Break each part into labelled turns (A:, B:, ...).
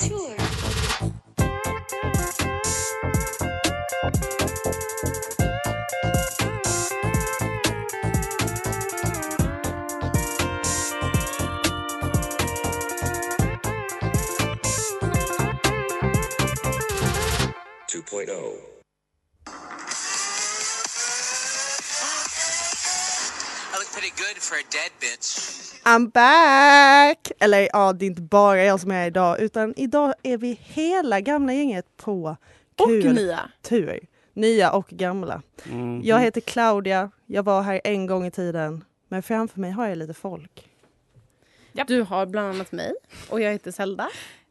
A: Tour.
B: I look pretty good for a dead bitch.
C: I'm back! Eller ja, det är inte bara jag som är här idag utan idag är vi hela gamla gänget på
D: Och Mia.
C: tur. Nya och gamla. Jag heter Claudia, jag var här en gång i tiden men framför mig har jag lite folk.
E: Du har bland annat mig och jag heter Zelda.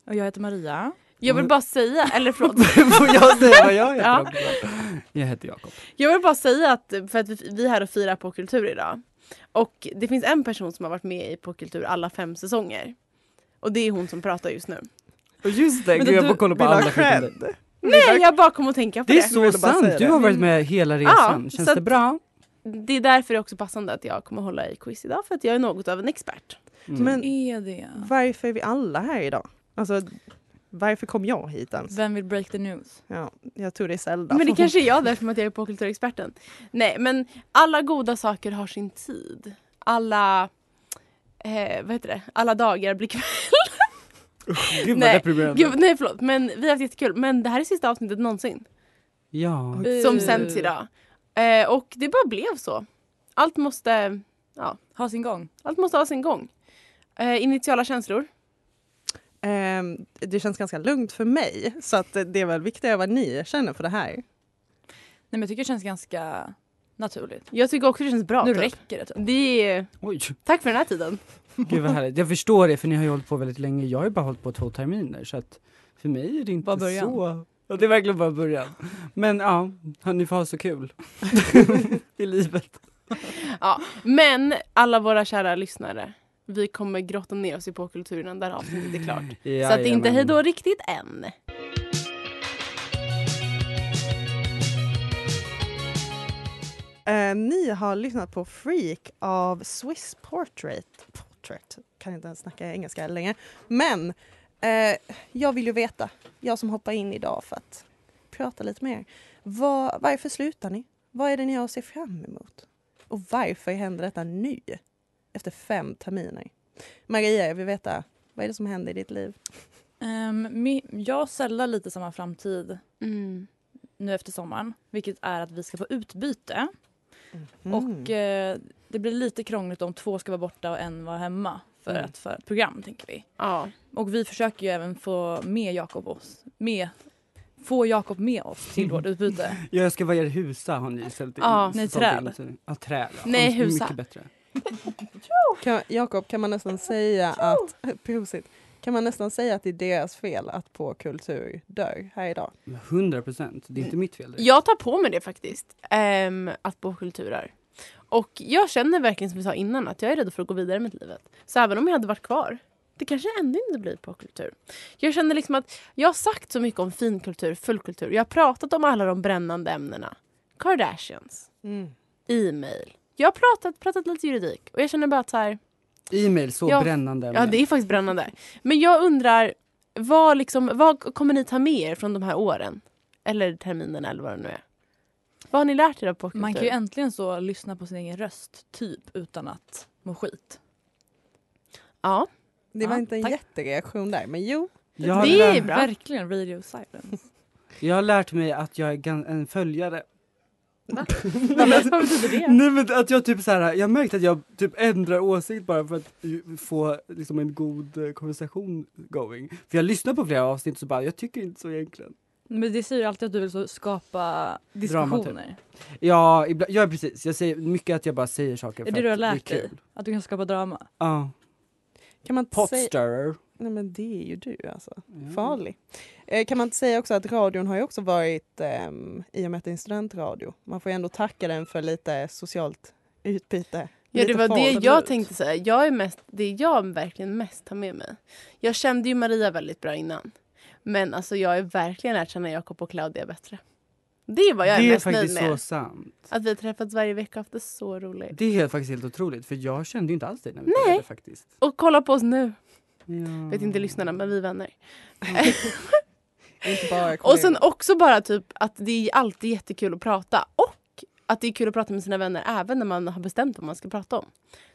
F: Och jag heter Maria.
E: Jag vill bara säga, eller förlåt,
G: Får jag säga vad jag heter
E: Ja.
G: också? Jag heter Jakob.
E: jag vill bara säga att för att vi vi är här och firar Popkultur idag. Och det finns en person som har varit med i Popkultur alla fem säsonger. Och det är hon som pratar just nu.
G: Och just det,
C: Men
G: gud, jag
C: du
G: får kolla på
C: vill ha
G: alla skiten.
C: cred.
E: Nej, jag bara kom att tänka på
G: Det är
E: det.
G: så
C: ville bara
G: sant,
C: säga
G: du
C: det.
G: har varit med hela resan.
E: Ja,
G: Känns
E: så
G: det
E: att-
G: bra?
E: Det är därför det är också passande att jag kommer att hålla i quiz idag för att jag är något av en expert.
G: Mm.
C: Men
F: Är det?
C: varför är vi alla här idag? Alltså, varför kom jag hit ens?
F: Vem vill break the news?
C: Ja, jag tror det är Zelda.
E: Men det kanske är jag därför att jag är popkulturexperten. Nej, men alla goda saker har sin tid. Alla, eh, vad heter det, alla dagar blir kväll.
G: Gud vad
E: Nej,
G: deprimerande.
E: Gud, nej förlåt, men vi har haft jättekul. Men det här är sista avsnittet någonsin
G: Ja.
E: som sänds idag. Eh, och det bara blev så. Allt måste,
F: Ha sin gång.
E: allt måste ha sin gång. Eh, initiala känslor.
C: Ehm, det känns ganska lugnt för mig så att eh, det är väl viktigare vad ni känner för det här.
F: Nej, men jag tycker det känns ganska naturligt.
E: Jag tycker också det känns bra.
F: nu
E: typ.
F: räcker det typ.
E: Det är,
G: Oj,
E: tack för den här tiden.
G: gud vad härligt. Jag förstår det för ni har ju hållit på väldigt länge. Jag har ju bara hållit på två terminer så att för mig är det inte
F: Bara början.
G: så. Ja, det är verkligen bara början. Men ja, ni får ha så kul. I livet.
E: Men alla våra kära lyssnare, vi kommer grotta ner oss i popkulturen där avsnittet är klart. så att det är inte
G: Jajamän.
E: hejdå riktigt än.
C: Eh, ni har lyssnat på Freak av Swiss Portrait. Portrait. Kan inte ens snacka engelska längre. Men eh, jag vill ju veta, jag som hoppar in idag för att prata lite mer. Vad, varför slutar ni? Vad är det ni har att se fram emot? Och varför händer detta nu? Efter fem terminer. Maria, jag vill veta, vad är det som händer i ditt liv?
F: Um, jag och Zelda lite samma framtid
E: Mm.
F: nu efter sommaren. Vilket är att vi ska få utbyte.
C: Mm.
F: Och eh, det blir lite krångligt om två ska vara borta och en vara hemma. För
G: Mm.
F: att för ett program tänker vi.
E: Ja.
F: Och vi försöker ju även få med Jakob oss. Med, få Jakob med oss till vårt utbyte.
G: Ja, jag ska vara er husa har ni ställt in.
E: Ja,
F: nej,
G: Sålt in
F: träd.
G: till- Ja, träd. Ja.
E: Nej,
G: Mycket
E: husa.
G: bättre.
C: Kan, Jakob, kan man nästan säga att... Prosit. Kan man nästan säga att det är deras fel att på kultur dör här idag?
G: 100 procent. Det är inte mitt fel. direkt.
E: Jag tar på mig det faktiskt, ehm, att bo kulturer. Och jag känner verkligen som vi sa innan att jag är redo för att gå vidare med livet. Så även om jag hade varit kvar, det kanske ändå inte blir popkultur. Jag känner liksom att jag har sagt så mycket om finkultur, fullkultur. Jag har pratat om alla de brännande ämnena. Kardashians, e-mail. Jag har pratat, pratat lite juridik och jag känner bara att så här,
G: E-mail, så
E: Ja.
G: brännande.
E: ja
G: ämne.
E: det är faktiskt brännande. Men jag undrar, vad, liksom, vad kommer ni ta med er från de här åren? Eller terminerna eller vad det nu är. Vad har ni lärt er av popkultur?
F: Man kan ju äntligen så lyssna på sin egen röst, typ, utan att må skit.
E: Ja.
C: Det var
F: Ja,
C: inte en
F: tack.
C: jättereaktion där, men jo.
G: jag, har
E: det är
G: lärt,
E: bra.
F: Verkligen radio silence.
G: jag har lärt mig att jag är gan- en följare.
E: Vad betyder det?
G: Nej men att jag typ så här, jag märkt att jag typ ändrar åsikt bara för att ju- få liksom en god eh, konversation going. För jag lyssnar på flera avsnitt så bara, jag tycker inte så egentligen.
F: Men det säger ju alltid att du vill så skapa
G: typ.
F: diskussioner.
G: Ja, ibland, ja precis. Jag säger mycket att jag bara säger saker
F: Är
G: för
F: det du har
G: att
F: lärt
G: det är
F: dig?
G: kul.
F: Att du kan skapa drama.
G: Ja.
C: Kan man inte säga...
G: Potstirrer.
C: Nej men det är ju du alltså.
G: Ja.
C: Farlig. Eh, kan man inte säga också att radion har ju också varit, ehm, i och med att det är en studentradio, man får ju ändå tacka den för lite socialt utbyte.
E: Ja, det
C: Lite
E: var det
C: farligt.
E: jag tänkte säga. Jag är mest, det jag verkligen mest tar med mig. Jag kände ju Maria väldigt bra innan. Men alltså, jag har verkligen lärt känna Jakob och Claudia bättre. Det är vad jag är,
G: det är
E: mest nöjd
G: faktiskt så
E: med.
G: sant.
E: Att vi har träffats varje vecka och haft det så roligt.
G: Det är helt- faktiskt helt otroligt för jag kände ju inte alls dig när vi
E: Nej.
G: började faktiskt.
E: Och kolla på oss nu.
G: Ja.
E: Vet inte lyssnarna, men vi är vänner.
C: Inte bara
E: Och sen också bara typ att det är alltid jättekul att prata. Och att det är kul att prata med sina vänner även när man har bestämt vad man ska prata om.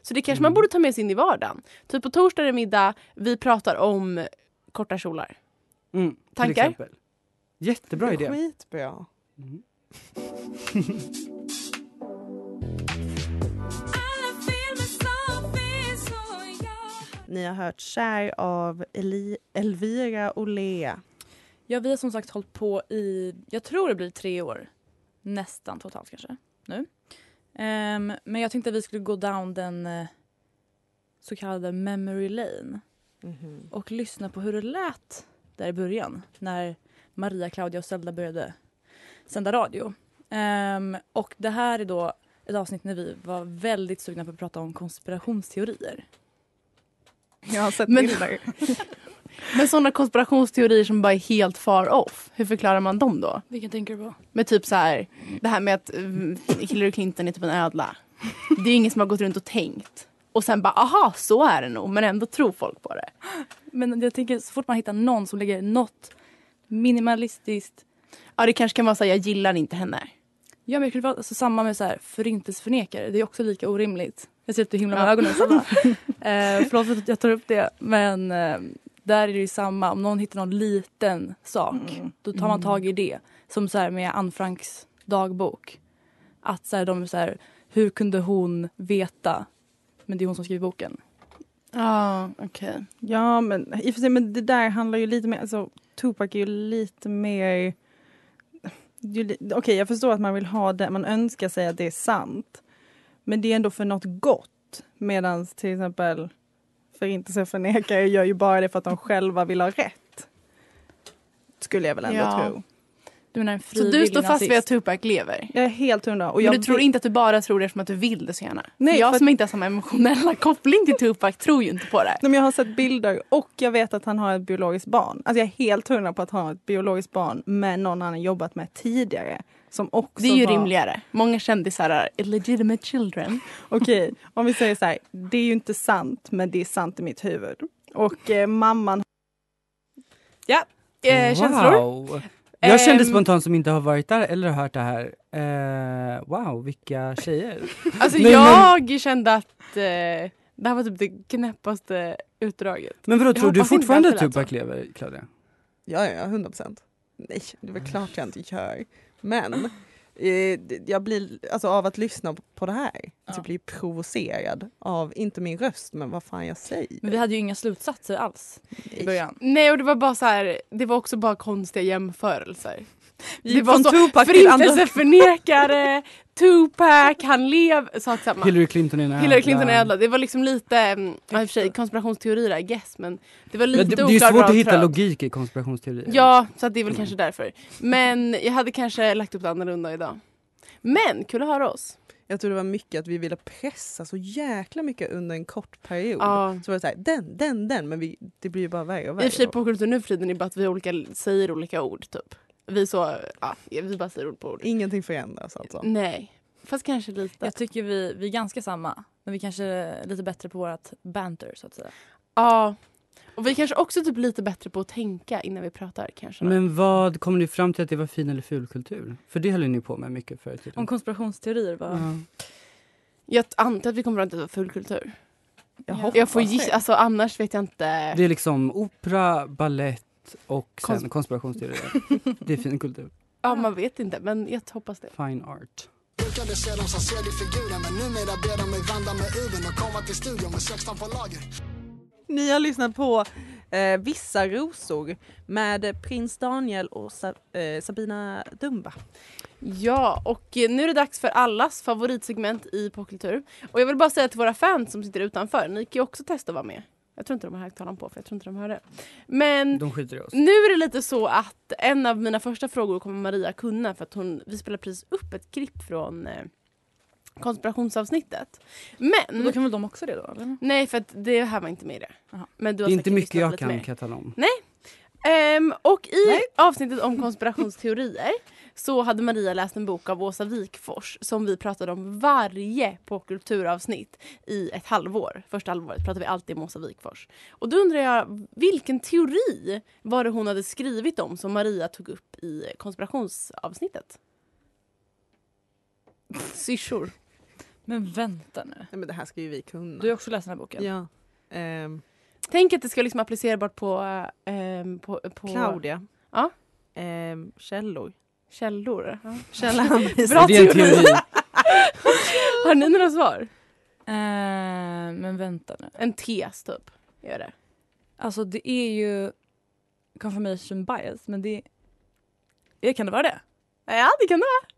E: Så det kanske man
C: Mm.
E: borde ta med sig in i vardagen. Typ på torsdag är det middag, vi pratar om korta kjolar.
G: Mm, till
E: Tankar?
G: exempel. Jättebra idé.
C: Skitbra.
G: Mm.
C: Ni har hört Kär av Eli- Elvira Olea.
F: Ja, vi har som sagt hållit på i, jag tror det blir tre år. Nästan totalt kanske, nu. Ehm, men jag tänkte att vi skulle gå down den eh, så kallade memory lane och lyssna på hur det lät där i början när Maria, Claudia och Zelda började sända radio. Ehm, och det här är då ett avsnitt när vi var väldigt sugna på att prata om konspirationsteorier.
C: Jag har sett
E: Men-
C: bilder.
E: Men sådana konspirationsteorier som bara är helt far off, hur förklarar man dem då?
F: Vilken tänker du på?
E: Med typ så här, det här med att mm, Hillary Clinton är typ en ödla. Det är ingen som har gått runt och tänkt. Och sen bara, aha, så är det nog, men ändå tror folk på det.
F: Men jag tänker så fort man hittar någon som lägger något minimalistiskt
E: Ja, det kanske kan vara så här, jag gillar inte henne.
F: Ja, men jag skulle vara alltså, samma med så här, förintelseförnekare. Det är också lika orimligt. Jag ser att du himlar med
E: Ja.
F: ögonen. Sanna. eh, förlåt för att jag tar upp det. Men eh, där är det ju samma. Om någon hittar någon liten sak,
E: Mm,
F: då tar man tag i det. Som så här med Anne Franks dagbok. Att så här, de är så här, hur kunde hon veta? Men det är hon som skriver boken.
E: Ja, okej.
A: Ja, men i och för sig, men det där handlar ju lite mer, alltså Tupac är ju lite mer, det är ju li- okej jag förstår att man vill ha det, man önskar sig att det är sant, men det är ändå för något gott, medan till exempel förintelse och förnekare gör ju bara det för att de själva vill ha rätt. Skulle jag väl ändå
E: Ja.
A: tro.
F: Du menar en
E: Så
F: frivillig
E: du står fast vid
F: nazist.
E: att Tupac lever?
A: Jag är helt hundra. Och
E: Men
A: jag
E: du tror
A: vet-
E: inte att du bara tror det som att du vill det så gärna?
A: Nej,
E: jag
A: för-
E: som inte har samma emotionella koppling till Tupac tror ju inte på det.
A: Nej, men jag har sett bilder och jag vet att han har ett biologiskt barn. Alltså jag är helt hundra på att han har ett biologiskt barn med någon han har jobbat med tidigare. Som också
E: Det är ju
A: var...
E: rimligare. Många kändisar är illegitimate children.
A: Okej, om vi säger så här. Det är ju inte sant, men det är sant i mitt huvud. Och eh, mamman...
E: Eh, Känslor?
G: Wow. Jag kände
E: Ehm,
G: spontant som inte har varit där eller hört det här. Eh, wow, vilka tjejer.
E: Alltså
G: Nej, men-
E: jag kände att eh, det här var typ det knäppaste utdraget.
G: Men vadå,
E: Jag
G: tror du
E: hoppas inte
G: fortfarande
E: att det lät
G: Tupac lever, Claudia?
C: Ja, ja, 100 procent. Nej, det är väl klart jag inte gör. Men eh, det- jag blir, alltså av att lyssna på det här, alltså, jag blir provocerad av, inte min röst, men vad fan jag säger.
F: Men vi hade ju inga slutsatser alls i början.
E: Nej och det var bara så här, det var också bara konstiga jämförelser. Det var
A: från
C: Alltså,
E: så
A: Tupac till andra-
E: förintelseförnekare, Tupac, han lev, sak samma.
G: Hillary Clinton är en
E: Hillary Clinton är
G: ädla.
E: ädla. Det var liksom lite, mm, ja, i och för sig konspirationsteorier I guess men det var
G: Ja,
E: lite
G: det, det är
E: oklart
G: ju svårt
E: vad
G: att
E: de
G: hitta
E: tror.
G: logik i konspirationsteorier.
E: Ja, så att det är väl kanske därför. Men jag hade kanske lagt upp det annorlunda idag. Men kul att höra oss.
C: Jag tror det var mycket att vi ville pressa så jäkla mycket under en kort period.
E: Ja.
C: Så var det så här, den, den, den, men vi, det blir ju bara värre och
E: I och för sig
C: värre.
E: popkultur nu för tiden är bara att vi olika, säger olika ord typ. Vi så, ja, vi bara säger ord på ord.
C: Ingenting förändras alltså.
A: Mm,
E: Nej, fast kanske lite.
F: Jag tycker vi, vi är ganska samma. Men vi kanske är lite bättre på vårt banter så att säga.
E: Ja. Och vi kanske också typ lite bättre på att tänka innan vi pratar kanske.
G: Men vad kom ni fram till att det var fin eller ful kultur? För det höll ju ni på med mycket förr i
F: Om
G: tiden.
F: konspirationsteorier var...
G: Ja.
E: Jag antar att vi kommer fram till att det var fullkultur.
C: Jag
F: Ja.
C: hoppas
E: Jag får
C: det.
E: gissa, alltså annars vet jag inte.
G: Det är liksom opera, ballett och sen
E: Kons-
G: konspirationsteorier. det är fin kultur.
E: Ja, man vet inte men jag hoppas det.
G: Fine art.
C: Ni har lyssnat på eh, Vissa rosor med prins Daniel och Sa- eh, Sabina Dumba.
E: Ja, och eh, nu är det dags för allas favoritsegment i popkultur. Och jag vill bara säga till våra fans som sitter utanför, ni kan ju också testa att vara med. Jag tror inte de har högtalaren på för jag tror inte de hör det. Men
G: De skiter i oss.
E: nu är det lite så att en av mina första frågor kommer Maria kunna för att hon, vi spelar precis upp ett klipp från eh, konspirationsavsnittet. Men...
F: Då kan väl de också det då? Eller?
E: Nej, för att det här var inte med i det.
F: Jaha.
E: Men du
G: Det
E: har
G: är inte
E: säkert
G: mycket
E: lyssnat på
G: jag
E: lite
G: kan
E: mer.
G: katalogen om.
E: Ehm, och i avsnittet om konspirationsteorier så hade Maria läst en bok av Åsa Wikfors som vi pratade om varje popkulturavsnitt i ett halvår. Första halvåret pratade vi alltid om Åsa Wikfors. Och då undrar jag, vilken teori var det hon hade skrivit om som Maria tog upp i konspirationsavsnittet? Syrsor.
F: Men vänta nu.
C: Nej, men det här ska ju vi kunna.
F: Du har också läst den här boken.
C: ja. Ehm,
E: Tänk att det ska liksom applicerbart på, ehm, på, på
C: Claudia.
E: Ja.
C: Ehm, källor.
E: källor. Ja.
C: Källanvisning.
E: Bra
G: Det är en
E: teori.
G: teori.
E: Har ni några svar?
F: Eh, men vänta nu.
E: En tes typ. Gör det.
F: Alltså det är ju confirmation bias men det... Ja, kan det vara det?
E: Ja, det kan det vara.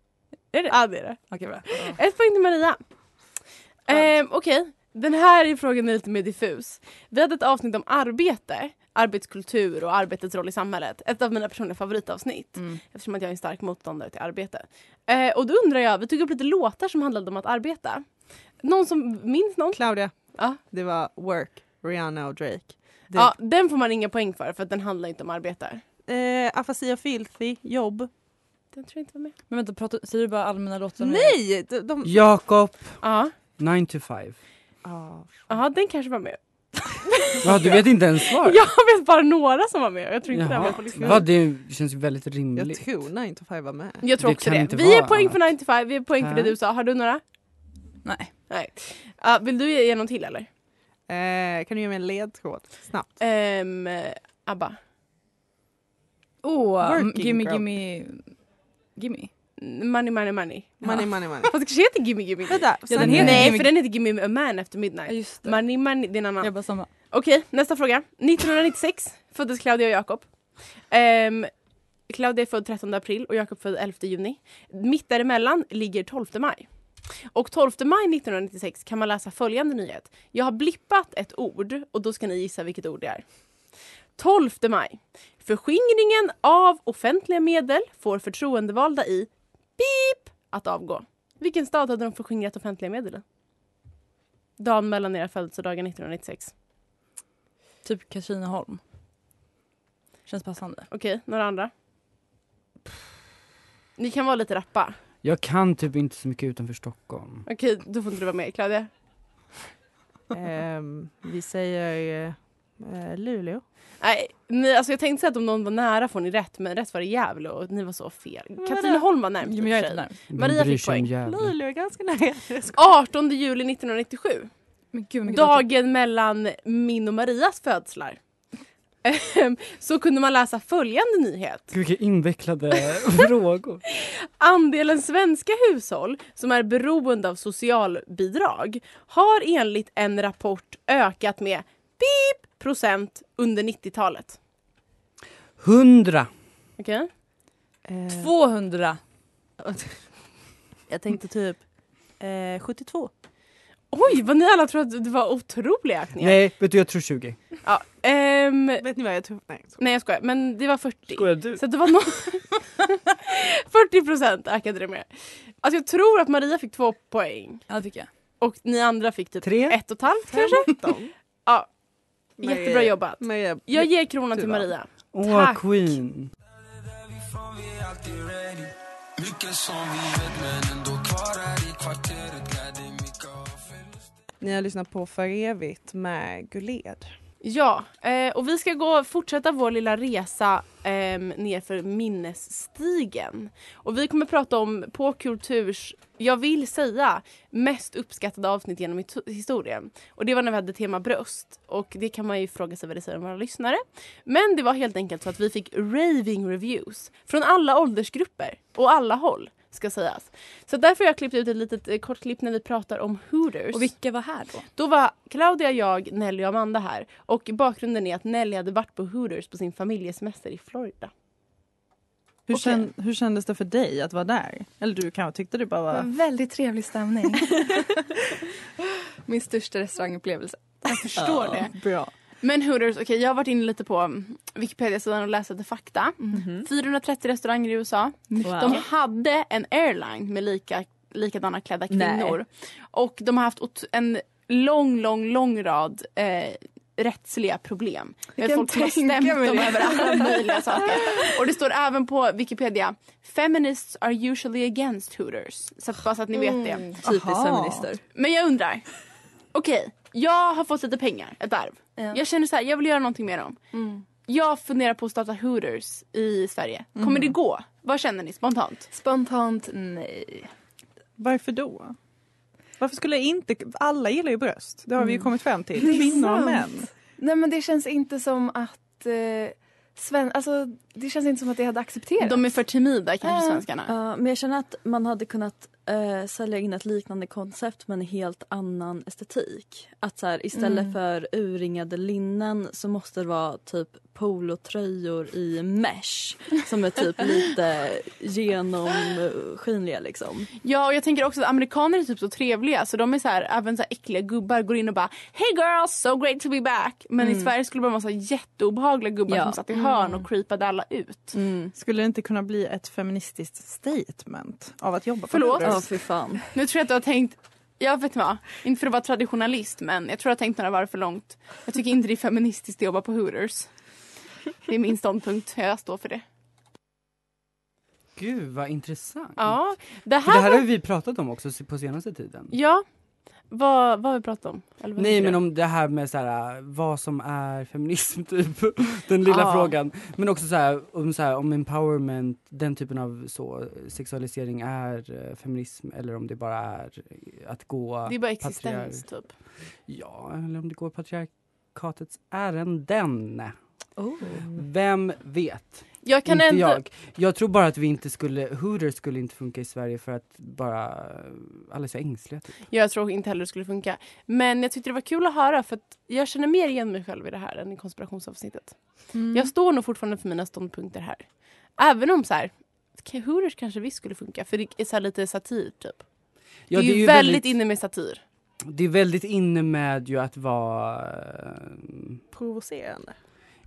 F: Är det?
E: Ja, det är det.
F: Okej bra.
E: Ett poäng till Maria. Ehm, Okej, den här frågan är lite mer diffus. Vi hade ett avsnitt om arbete, arbetskultur och arbetets roll i samhället. Ett av mina personliga favoritavsnitt
F: Mm.
E: eftersom att jag är en stark motståndare till arbete. Eh, och då undrar jag, vi tog upp lite låtar som handlade om att arbeta. Någon som minns någon?
C: Claudia.
E: Ja.
C: Det var Work, Rihanna och Drake. Det-
E: Ja, den får man inga poäng för för att den handlar inte om arbete.
C: Eh, Afasi och Filthy, Jobb.
E: Den tror jag inte var med.
F: Men vänta, pratar, säger du bara allmänna låtar? nu?
C: Nej! De, de...
G: Jakob,
E: Ja,
G: 9 to 5.
C: Ah.
E: ja den kanske var med.
G: Ja, du vet inte ens svar?
E: Jag vet bara några som var med och jag tror inte den var
G: Jaha.
E: på listan.
G: Va, det känns ju väldigt
C: Jag
G: rimligt.
C: tror 9 to 5 var med.
E: Jag tror
G: Det
E: också
G: kan
E: det.
G: inte
E: Vi är
G: vara
E: poäng för
G: annat.
E: 9 to 5, vi är poäng för det
G: Ja.
E: du sa. Har du några?
F: Nej.
E: Nej. Ja, vill du ge någon till eller?
C: Eh, kan du ge mig en ledtråd? Snabbt.
E: Ehm, Abba?
F: Åh, oh,
C: Working
F: gimme,
C: girl.
F: gimme, gimme.
E: Money, money, money.
C: Money, money, money.
E: Fast det kanske heter Gimme Gimme?
C: Vänta,
F: Ja,
C: sen-
F: den heter
E: Nej,
F: Gimme-
E: för den heter Gimme a Man After
F: Ja,
E: Midnight.
F: just det.
E: Money, money, det är en annan.
F: Jag bara samma.
E: Okej, nästa fråga. 1996 föddes Claudia och Jakob. Ehm, Claudia är född 13 april och Jakob född 11 juni. Mitt däremellan ligger 12 maj. Och 12 maj 1996 kan man läsa följande nyhet. Jag har blippat ett ord och då ska ni gissa vilket ord det är. 12 maj. Förskingringen av offentliga medel får förtroendevalda i beep att avgå. Vilken stad hade de förskingrat offentliga medel i? Dagen mellan era födelsedagar 1996.
F: Typ Katrineholm. Känns passande.
E: Okej, några andra? Ni kan vara lite rappa.
G: Jag kan typ inte så mycket utanför Stockholm.
E: Okej, då får inte du vara med Claudia.
C: Ehm, vi säger eh, eh, Luleå.
E: Nej, ni, alltså jag tänkte säga att om någon var nära får ni rätt, men rätt var det Gävle och ni var så fel.
C: vadå?
E: Katrineholm var närmst i och
F: Men jag
E: för
F: är inte
E: sig.
F: närmast.
G: Vem
E: Maria
G: bryr
E: fick
G: sig om
E: poäng.
G: Gävle?
C: Luleå är ganska nära.
E: 18 juli 1997,
F: Men gud, men
E: dagen mellan min och Marias födslar. Ehm, så kunde man läsa följande nyhet.
G: Gud vilka invecklade frågor.
E: Andelen svenska hushåll som är beroende av socialbidrag har enligt en rapport ökat med beep procent under 90-talet.
G: Hundra.
E: Okej?
F: typ-
C: Eh,
F: 200.
C: jag tänkte typ eh, 72.
E: Oj, vad ni alla tror att det var otroliga ökningar.
G: Nej, vet du jag tror 20.
E: Ja, ehm,
C: Eh, Vet ni vad jag tror? Nej.
E: nej, jag skojar. Men det var 40.
G: du?
E: Så att det var no 40 procent ökade det med. Alltså jag tror att Maria fick två poäng
F: Ja, det fick jag.
E: och ni andra fick typ
G: Tre.
E: ett och ett halvt kanske. Ja,
C: Maria-
E: jättebra jobbat.
C: Maria,
E: Jag ger kronan till
C: Tyvärr.
E: Maria.
G: Åh,
E: Tack.
G: Queen.
C: ni har lyssnat på För evigt med Guled.
E: Ja, eh, och vi ska gå fortsätta vår lilla resa eh, nerför minnesstigen. Och vi kommer prata om på kulturs, jag vill säga, mest uppskattade avsnitt genom hito- historien. Och det var när vi hade tema bröst. Och det kan man ju fråga sig vad det säger om våra lyssnare. Men det var helt enkelt så att vi fick raving reviews från alla åldersgrupper och alla håll ska sägas. Så därför har jag klippt ut ett litet eh, kort klipp när vi pratar om Hooters.
F: Och vilka var här då?
E: Då var Claudia, jag, Nelly och Amanda här. Och bakgrunden är att Nelly hade varit på Hooters på sin familjesemester i Florida.
A: Hur,
E: Okej.
A: kän, hur kändes det för dig att vara där? Eller du kanske tyckte du bara var...
H: Väldigt trevlig stämning. Min största restaurangupplevelse.
E: Jag förstår det.
A: Bra.
E: Men Hooters, okej jag har varit inne lite på mm, Wikipedia-sidan och läst lite fakta. 430 restauranger i USA. De
H: Wow.
E: hade en airline med lika, likadana klädda
H: Nej.
E: kvinnor. Och de har haft ot- en lång, lång, lång rad eh, rättsliga problem. Jag
H: kan
E: folk som har
H: tänka
E: stämt
H: mig
E: dem
H: det.
E: över alla möjliga saker. Och det står även på Wikipedia, feminists are usually against Hooters. Så att, bara så att ni vet det.
H: Mm. Typiskt feminister.
E: Men jag undrar. Okej, jag har fått lite pengar, ett arv. Jag känner så här, jag vill göra någonting med dem.
I: Mm.
E: Jag funderar på att starta Hooters i Sverige. Kommer
H: Mm.
E: det gå? Vad känner ni spontant?
H: Spontant nej.
A: Varför då? Varför skulle jag inte... Alla gillar ju bröst. Det har vi ju kommit fram till. Kvinnor och män.
H: Nej men det känns inte som att eh, Sven, alltså, det känns inte som att det hade accepterats.
E: De är för timida kanske
H: Ja.
E: svenskarna.
I: Eh, Ja, men jag känner att man hade kunnat eh, sälja in ett liknande koncept med en helt annan estetik. Att så här, istället
H: Mm.
I: för urringade linnen så måste det vara typ polotröjor i mesh som är typ lite genomskinliga liksom.
E: Ja och jag tänker också att amerikaner är typ så trevliga så de är så här, även så här äckliga gubbar går in och bara Hey girls, so great to be back. Men i Sverige skulle det bara vara så här jätteobehagliga gubbar
I: Mm. Ja. Mm.
E: som satt i hörn och creepade alla ut.
H: Mm.
A: Skulle det inte kunna bli ett feministiskt statement av att jobba på
E: Förlåt?
I: Ja,
A: Hooters?
I: fy fan.
E: Nu tror jag att du har tänkt, jag vet inte vad, inte för att vara traditionalist men jag tror jag har tänkt några varv för långt. Jag tycker inte det är feministiskt att jobba på Hooters. Det är min ståndpunkt, jag står för det.
G: Gud vad intressant.
E: Ja, det
G: För det här
E: här
G: har
E: var,
G: ju vi pratat om också på senaste tiden.
E: ja, vad, vad har vi pratat om? Eller vad
G: Nej
E: heter
G: men
E: det?
G: om det här med så här, vad som är feminism typ, den lilla
E: Ja.
G: frågan. Men också så här, om, så här, om empowerment, den typen av så, sexualisering är eh, feminism eller om det bara är eh, att gå,
E: det är bara existens typ.
G: ja eller om det går patriarkatets ärenden. Vem vet?
E: Jag Oh. kan
G: inte
E: ändå,
G: jag. Jag tror bara att vi inte skulle, Hooters skulle inte funka i Sverige för att bara, eh, alla är så ängsliga typ.
E: Jag tror inte heller det skulle funka. Men jag tyckte det var kul att höra för att jag känner mer igen mig själv i det här än i konspirationsavsnittet.
F: Mm.
E: Jag står nog fortfarande för mina ståndpunkter här. Även om så här, Hooters kanske visst skulle funka för det är så här lite satir typ.
G: Ja,
E: det, är ju väldigt, inne med satir.
G: Det är väldigt inne med ju att vara... eh,
C: Provocerande.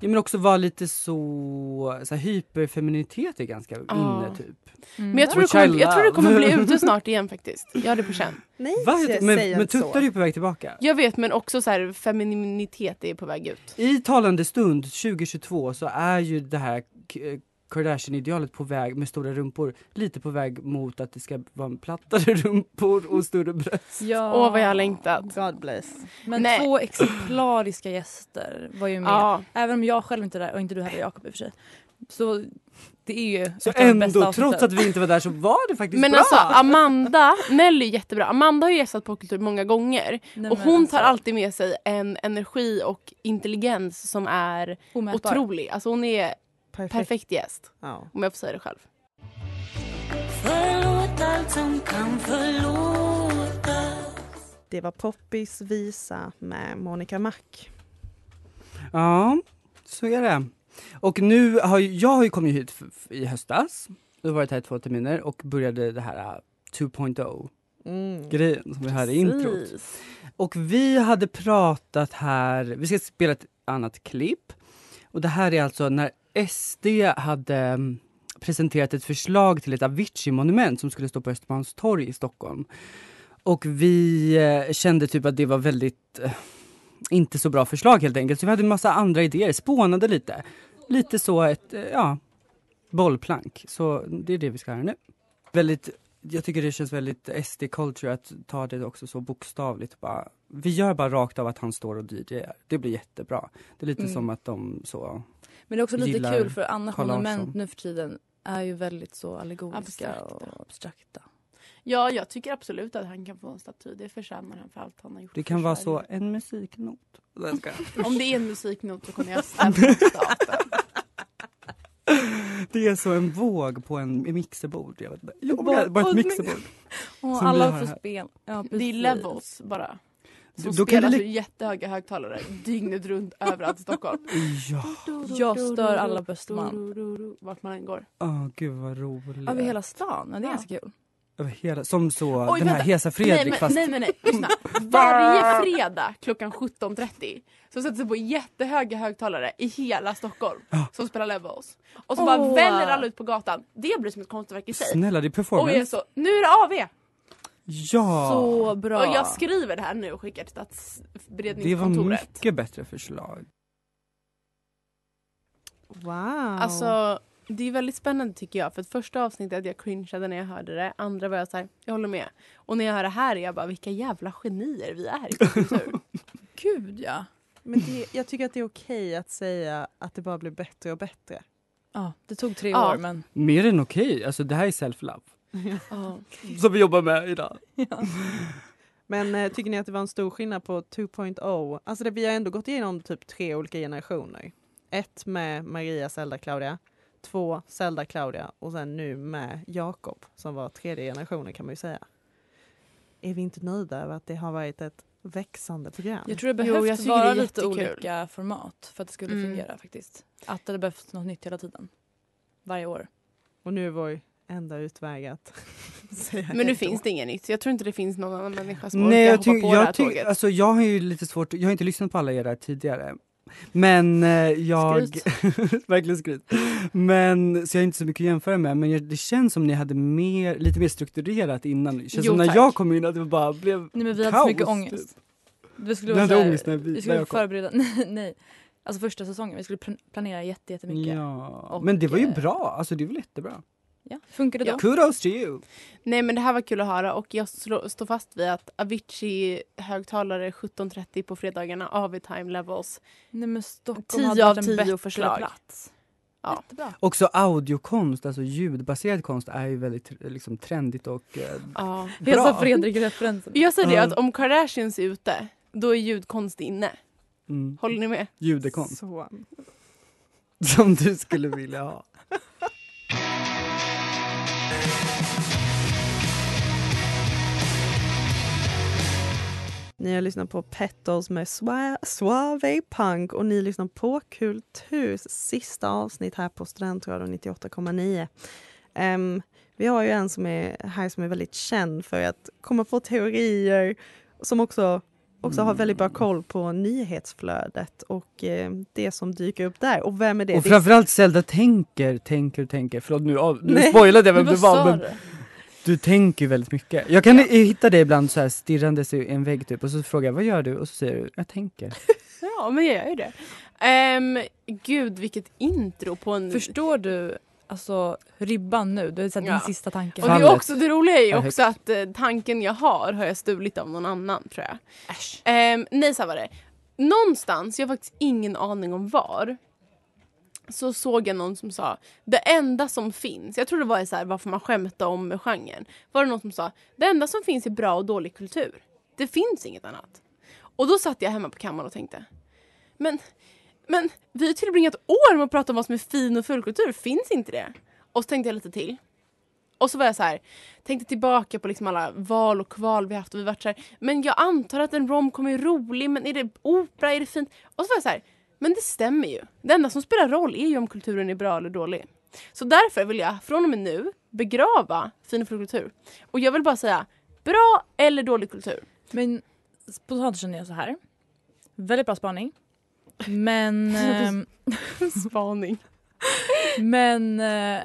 G: Ja, men också vara lite så... så här, hyperfeminitet är ganska
E: Ja.
G: inne, typ.
H: Mm.
E: Men
F: Mm.
E: jag tror, det
G: Which
E: kommer,
G: I
E: jag tror det kommer
G: love.
E: bli ute snart igen faktiskt. Jag har det på känn.
C: Nej,
G: Va?
C: sä-
G: Men,
C: säg
G: men
C: inte så.
G: tuttar är ju på väg tillbaka.
E: Jag vet men också så här, femininitet är på väg ut.
G: I talande stund 2022 så är ju det här K- eh, Kardashian-idealet på väg med stora rumpor lite på väg mot att det ska vara plattare rumpor och större bröst.
F: Ja.
E: Åh vad jag har längtat.
C: God bless.
F: Men
E: Nej.
F: två exemplariska gäster var ju med.
E: Ja.
F: Även om jag själv inte är där och inte du heller Jakob i och för sig. Så det är ju...
G: Så
F: ett av de bästa
G: ändå,
F: avsnitten.
G: trots att vi inte var där så var det faktiskt
E: Men
G: bra.
E: alltså Amanda, Nelly är jättebra. Amanda har ju gästat popkultur många gånger.
F: Nej,
E: Och
F: men
E: hon
F: alltså,
E: tar alltid med sig en energi och intelligens som är
F: omätbar.
E: otrolig. Alltså hon är
C: Perfekt.
E: perfekt gäst,
C: Ja.
E: om jag får säga det själv.
C: Det var Poppys visa med Monica Mac.
G: Ja, så är det. Och nu har ju, jag har ju kommit hit f- f- i höstas. Jag har varit här i två terminer och började det här eh, 2.0
C: Mm.
G: grejen som vi hörde i introt.
E: Precis.
G: Och vi hade pratat här, vi ska spela ett annat klipp. Och det här är alltså när SD hade mm, presenterat ett förslag till ett Avicii-monument som skulle stå på Östermalmstorg i Stockholm. Och vi eh, kände typ att det var väldigt eh, inte så bra förslag helt enkelt. Så vi hade en massa andra idéer, spånade lite. Lite så ett, eh, ja, bollplank. Så det är det vi ska göra nu. Väldigt jag tycker det känns väldigt SD-culture att ta det också så bokstavligt. Bara, vi gör bara rakt av att han står och DJar. Det blir jättebra. Det är lite
F: Mm.
G: som att de så...
F: Men det är också lite
G: gillar
F: kul för annars
G: Carl Larsson.
F: monument nu för tiden är ju väldigt så allegoriska
E: Abstrakta.
F: och abstrakta.
E: Ja, jag tycker absolut att han kan få en staty. Det förtjänar han för allt han har gjort
G: Det
E: för
G: kan vara så,
E: Sverige.
G: en musiknot. Nej, jag skojar.
E: Om det är en musiknot så kommer jag stämma staten.
G: det är så en våg på en i mixerbord. Jag vet inte. Jo,
F: Bara-
G: bara, bara ett
F: åh, nej.
G: mixerbord.
F: Och
G: Som vi
F: alla
G: har
F: får
G: här.
F: spel. Ja,
E: Det är
F: precis.
E: levels bara. Som
G: Då kan
E: spelas
G: det
E: ur
G: li-
E: jättehöga högtalare dygnet runt överallt i Stockholm.
G: Ja,
F: Jag stör alla på Östermalm.
E: Vart man än går.
G: Åh, gud vad roligt.
F: Över hela stan. Ja, det är
E: Ja.
F: ganska kul.
G: över hela, som så
E: Oj,
G: den här
E: vänta.
G: Hesa Fredrik
E: nej, men,
G: fast
E: nej men nej, lyssna. Varje fredag klockan 17.30 så sätter sig på jättehöga högtalare i hela Stockholm som spelar Levels. Och så bara
F: Åh.
E: väller alla ut på gatan. Det blir som ett konstverk i sig.
G: snälla det är
E: och jag är
G: performance.
E: så, nu är det AV!
G: ja!
F: Så bra.
E: Och jag skriver det här nu och skickar till
G: det var
E: statsberedningskontoret.
G: mycket bättre förslag.
C: Wow.
E: Alltså det är väldigt spännande tycker jag. För att första avsnittet jag cringeade när jag hörde det. Andra var jag så här, jag håller med. Och när jag hör det här är jag bara, vilka jävla genier vi är i kultur.
F: Gud ja.
C: Men det, jag tycker att det är okej att säga att det bara blir bättre och bättre.
F: Ja, det tog tre
E: Ja.
F: år men
G: Mer än okej, alltså det här är self-love.
E: Ja.
G: Som vi jobbar med idag.
C: Men eh, tycker ni att det var en stor skillnad på 2.0? Alltså det, vi har ändå gått igenom typ tre olika generationer. Ett med Maria, Zelda, Claudia. Två Zelda, Claudia och sen nu med Jakob som var tredje generationen kan man ju säga. Är vi inte nöjda över att det har varit ett växande program?
F: jag tror det
E: Jo, jag
F: behövt
E: tycker det är
F: vara lite
E: jättekul.
F: olika format för att det skulle
E: Mm.
F: fungera faktiskt. Att det hade behövts något nytt hela tiden. Varje år.
C: Och nu är vår enda utväg att säga
E: Men nu finns det inget nytt. Jag tror inte det finns någon annan människa som
G: Nej,
E: Alltså, orkar
G: jag,
E: hoppa på det här
G: tyck, jag, tyck,
E: tåget.
G: alltså, jag har ju lite svårt, jag har inte lyssnat på alla era tidigare. Men eh, jag... verkligen skryt. Men, så jag har inte så mycket att jämföra med, men jag, det känns som ni hade mer, lite mer strukturerat innan. Det känns
E: Jo,
G: som när
E: tack.
G: jag kom in att det bara blev
F: Nej men vi hade
G: kaos.
F: så mycket ångest.
G: typ.
F: Vi skulle,
G: Vi
F: vara
G: hade
F: så här-
G: ångest när vi,
F: vi
G: när
F: skulle
G: jag kom.
F: förbereda, nej, nej. Alltså första säsongen, vi skulle pl- planera jätte- jättemycket. Ja.
G: Ja.
F: Och,
G: Men det var ju
F: eh,
G: bra, alltså det är väl jättebra.
F: Funkar det då?
G: Kudos to you!
E: Nej men det här var kul att höra och jag slå, står fast vid att Avicii högtalare 17.30 på fredagarna, AV time levels.
F: Nej men Stockholm
E: 10
F: hade
E: av
F: varit
E: 10
F: en bättre
E: förslag.
F: plats.
E: Ja.
F: Jättebra.
G: Också audiokonst, alltså ljudbaserad konst är ju väldigt liksom, trendigt och eh,
E: Ja.
G: bra.
F: Hesa Fredrik-referensen.
E: Jag säger det
G: Ja.
E: att om Kardashians är ute, då är ljudkonst inne.
G: Mm.
E: Håller ni med?
G: Judekonst,
C: Så.
G: som du skulle vilja ha.
C: Ni har lyssnat på Petals med Swa- Suave Punk och ni lyssnar på Kulturs sista avsnitt här på Studentradion 98,9. Ehm, vi har ju en som är här som är väldigt känd för att komma på teorier som också, också har väldigt bra koll på nyhetsflödet och eh, det som dyker upp där. Och vem är det?
G: Och
C: Det är
G: framförallt Zelda tänker, tänker, tänker. Förlåt nu, av, nu
C: Nej.
G: spoilade jag vem
E: Vad
G: det
E: sa
G: var men
E: du?
G: du tänker ju väldigt mycket. Jag kan eh, hitta dig ibland så här stirrandes i en vägg typ och så frågar jag vad gör du? Och så säger du jag tänker.
E: Ja, men jag gör ju det. Ehm, gud, vilket intro på en...
F: Mm. Förstår du alltså ribban nu? Det är så här,
E: Ja.
F: din sista tanke.
E: och det, är
G: Fallet.
E: också, det roliga är ju
G: Perfekt.
E: också att eh, tanken jag har har jag stulit av någon annan tror jag. Ehm, nej, så här var det. Någonstans, jag har faktiskt ingen aning om var, så såg jag någon som sa det enda som finns, jag tror det var så här, varför man skämtade om genren, var det någon som sa det enda som finns är bra och dålig kultur. Det finns inget annat. Och då satt jag hemma på kammaren och tänkte men, men vi har tillbringat år med att prata om vad som är fin och full kultur, finns inte det? Och så tänkte jag lite till. Och så var jag så här, tänkte tillbaka på liksom alla val och kval vi haft och vi varit så här, men jag antar att en romcom är rolig, men är det opera, är det fint? Och så var jag så här, men det stämmer ju. Det enda som spelar roll är ju om kulturen är bra eller dålig. Så därför vill jag från och med nu begrava fin och full kultur. Och jag vill bara säga, bra eller dålig kultur?
F: Men spontant känner jag så här. Väldigt bra spaning. Men, ehm,
E: Spaning.
F: men eh,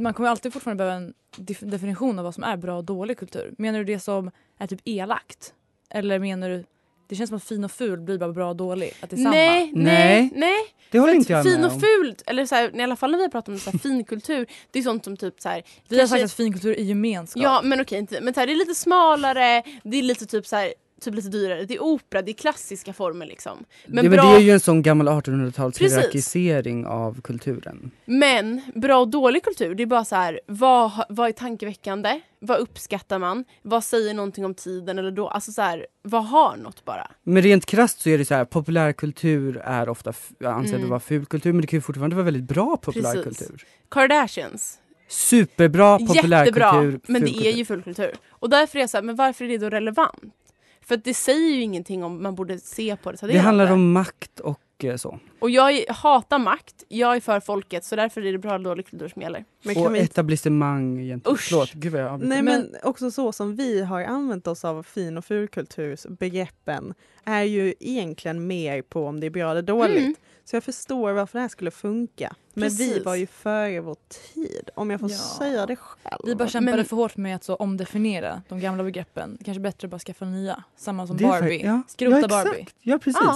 F: man kommer alltid fortfarande behöva en def- definition av vad som är bra och dålig kultur. Menar du det som är typ elakt? Eller menar du, det känns som att fin och ful blir bara bra och dålig? Att det är samma?
E: Nej, nej,
G: Nej.
E: nej.
G: Det håller
E: För att
G: inte jag
E: fin
G: med
E: och
G: om.
E: fult, eller så här, i alla fall när vi pratar om så här, finkultur, det är sånt som typ så här,
F: Vi har sagt
E: kanske-
F: att finkultur är gemenskap.
E: Ja men okej, inte, men så här, det är lite smalare, det är lite typ så här, typ lite dyrare, det är opera, det är klassiska former liksom. Men,
G: ja, men
E: bra,
G: det är ju en sån gammal 1800-tals
E: Precis.
G: hierarkisering av kulturen.
E: men bra och dålig kultur, det är bara så här, vad, ha- vad är tankeväckande? Vad uppskattar man? Vad säger någonting om tiden eller då? Alltså så här, vad har något bara?
G: Men rent krasst så är det så här, populärkultur är ofta f- ansedd
E: Mm.
G: att vara ful kultur men det kan ju fortfarande vara väldigt bra populärkultur.
E: Kardashians,
G: Superbra
E: Jättebra,
G: populärkultur,
E: men det
G: fulkultur.
E: är ju fullkultur. Och därför är jag så här, men varför är det då relevant? För att det säger ju ingenting om man borde se på det. så
G: Det handlar om makt och och eh, så.
E: Och jag hatar makt, jag är för folket så därför är det bra dålig kultur som gäller.
G: och etablissemang egentligen. Usch! Förlåt, gud vad jag avbryter.
C: Nej men också så som vi har använt oss av fin och fulkultursbegreppen är ju egentligen mer på om det är bra eller dåligt.
E: Mm.
C: Så jag förstår varför det här skulle funka. Men vi
E: Precis.
C: var ju före vår tid, om jag får
F: Ja.
C: säga det själv.
F: Vi bara kämpade
E: Men-
F: för hårt med att så omdefiniera de gamla begreppen. Kanske bättre att bara skaffa nya. Samma som
G: Det är fa-
F: Barbie.
G: ja.
F: Skrota
G: ja, exakt.
F: Barbie.
G: Ja, precis.
E: Ja,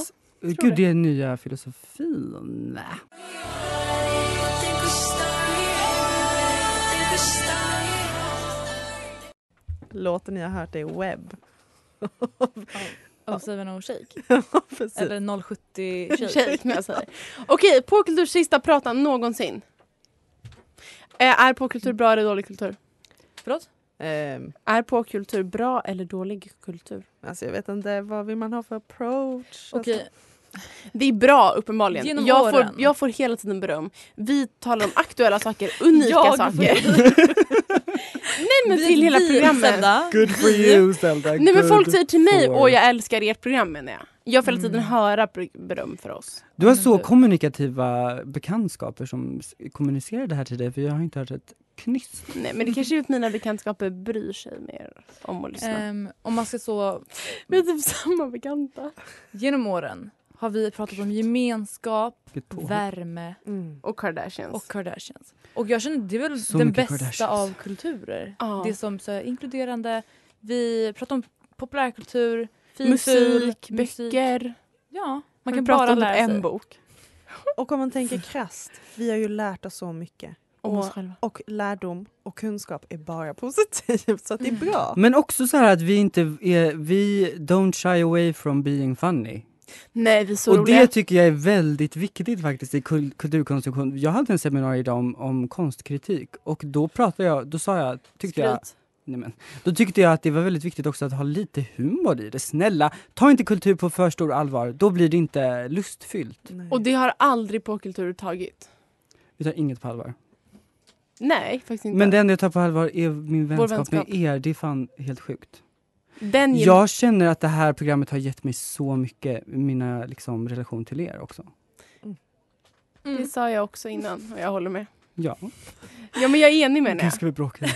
G: Gud, det är nya filosofin. Nä.
C: Låten ni har hört är webb.
F: Och Seven och Shake.
C: Precis.
F: Eller 070 Shake.
E: Tjej, som jag säger. Okej, påkulturs sista prata någonsin. Eh, Är påkultur bra eller dålig kultur?
F: Förlåt?
C: Ehm,
E: Är påkultur bra eller dålig kultur?
C: alltså jag vet inte, vad vill man ha för approach?
F: Okej,
E: Det är bra uppenbarligen.
F: Genom
E: jag,
F: åren.
E: Får, jag får hela tiden beröm. Vi talar om aktuella saker, unika
F: Jag
E: saker. Nej men till hela programmet.
F: Zelda.
G: Good for you, Zelda.
E: Nej men
G: Good
E: folk säger till mig
G: for-
E: åh jag älskar ert program menar jag. Jag får hela tiden höra br- beröm för oss.
G: Du har
F: Men
G: så
F: du-
G: kommunikativa bekantskaper som s- kommunicerar det här till dig, för jag har inte hört ett knyst.
E: Nej men det kanske är att mina bekantskaper bryr sig mer om att lyssna.
F: Ehm, om man ska så
E: Vi är typ samma bekanta.
F: Genom åren har vi pratat om gemenskap,
G: Vilket påhopp.
F: värme
C: Mm.
E: Och Kardashians.
F: och Kardashians. Och jag känner det är väl
G: Så
F: den
G: mycket
F: bästa
G: Kardashians.
F: av kulturer.
E: Ja.
F: Det som så här, inkluderande, vi pratar om populärkultur, fin
E: musik,
F: ful, musik.
E: böcker.
F: Ja,
E: Man
F: man kan
E: kan prata
F: bara
E: om typ
F: lära sig.
E: en bok.
C: Och om man tänker krasst, vi har ju lärt oss så mycket.
E: Om oss
C: Och-
E: själva.
C: Och lärdom och kunskap är bara positivt, så att det är bra.
G: Men också så här att vi inte är, vi don't shy away from being funny.
E: Nej vi är så
G: och
E: roliga.
G: det tycker jag är väldigt viktigt faktiskt i kul- kulturkonsumtion. Jag hade en seminarium idag om, om konstkritik och då pratade jag, då sa jag, tyckte jag,
E: Skryt.
G: nej men, då tyckte jag att det var väldigt viktigt också att ha lite humor i det. Snälla, ta inte kultur på för stor allvar, då blir det inte lustfyllt.
C: Nej.
E: Mm. Och det har aldrig påkultur tagit.
G: Vi tar inget på allvar.
E: Nej faktiskt inte.
G: Men det enda jag tar på allvar är min vänskap,
E: vänskap.
G: med er, det är fan helt sjukt.
E: Den ger-
G: Jag känner att det här programmet har gett mig så mycket, mina liksom, relation till er också.
E: Det sa jag också innan och jag håller med.
G: Ja,
E: Ja men jag är enig med
G: nu
E: det.
G: ska vi bråka.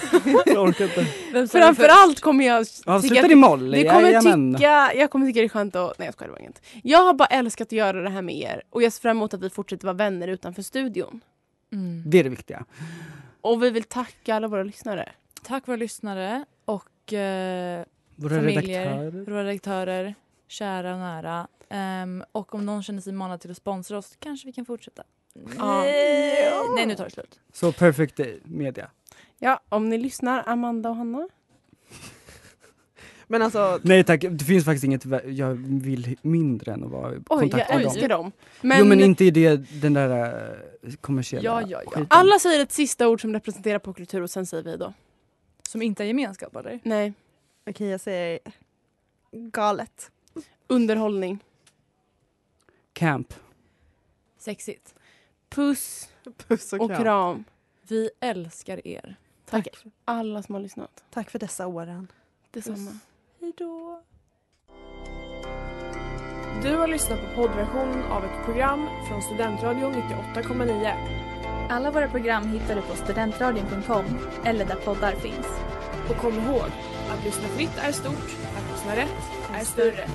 G: Jag orkar inte.
F: Vem sa det först?
E: Framförallt kommer jag tycka
G: Avsluta i moll,
E: Det kommer
G: jajamän.
E: tycka, jag kommer tycka det är skönt att... Nej jag skojar, det var inget. Jag har bara älskat att göra det här med er och jag ser fram emot att vi fortsätter vara vänner utanför studion.
F: Mm.
G: Det är det viktiga.
E: Och vi vill tacka alla våra lyssnare.
F: Tack våra lyssnare och eh,
G: Våra
F: Familjer.
G: redaktörer.
F: våra redaktörer, kära och nära. Ehm, och om någon känner sig manad till att sponsra oss kanske vi kan fortsätta.
E: Ja.
F: Nej, nu tar det slut.
G: Så Perfect Day Media.
E: Ja, om ni lyssnar, Amanda och Hanna.
C: Men alltså,
G: Nej tack, det finns faktiskt inget vä- jag vill mindre än att vara i
E: Oj,
G: kontakt
E: jag
G: med
E: älskar
G: dem.
E: dem.
G: Men... Jo men inte i det, den där eh, kommersiella
F: Ja, ja, ja.
G: skiten.
E: alla säger ett sista ord som representerar popkultur och sen säger vi då.
F: Som inte är gemenskap eller?
E: Nej,
C: okej jag säger galet.
E: underhållning.
G: Camp.
F: Sexigt.
E: Puss
C: Puss och
E: och
C: kram.
E: kram.
F: Vi älskar er.
E: Tack alla som har lyssnat.
C: Tack för dessa åren.
E: Detsamma.
D: Hejdå! Du har lyssnat på poddversionen av ett program från Studentradion 98,9.
J: Alla våra program hittar du på studentradion.com eller där poddar finns.
D: Och kom ihåg, att lyssna fritt är stort, att lyssna rätt är större.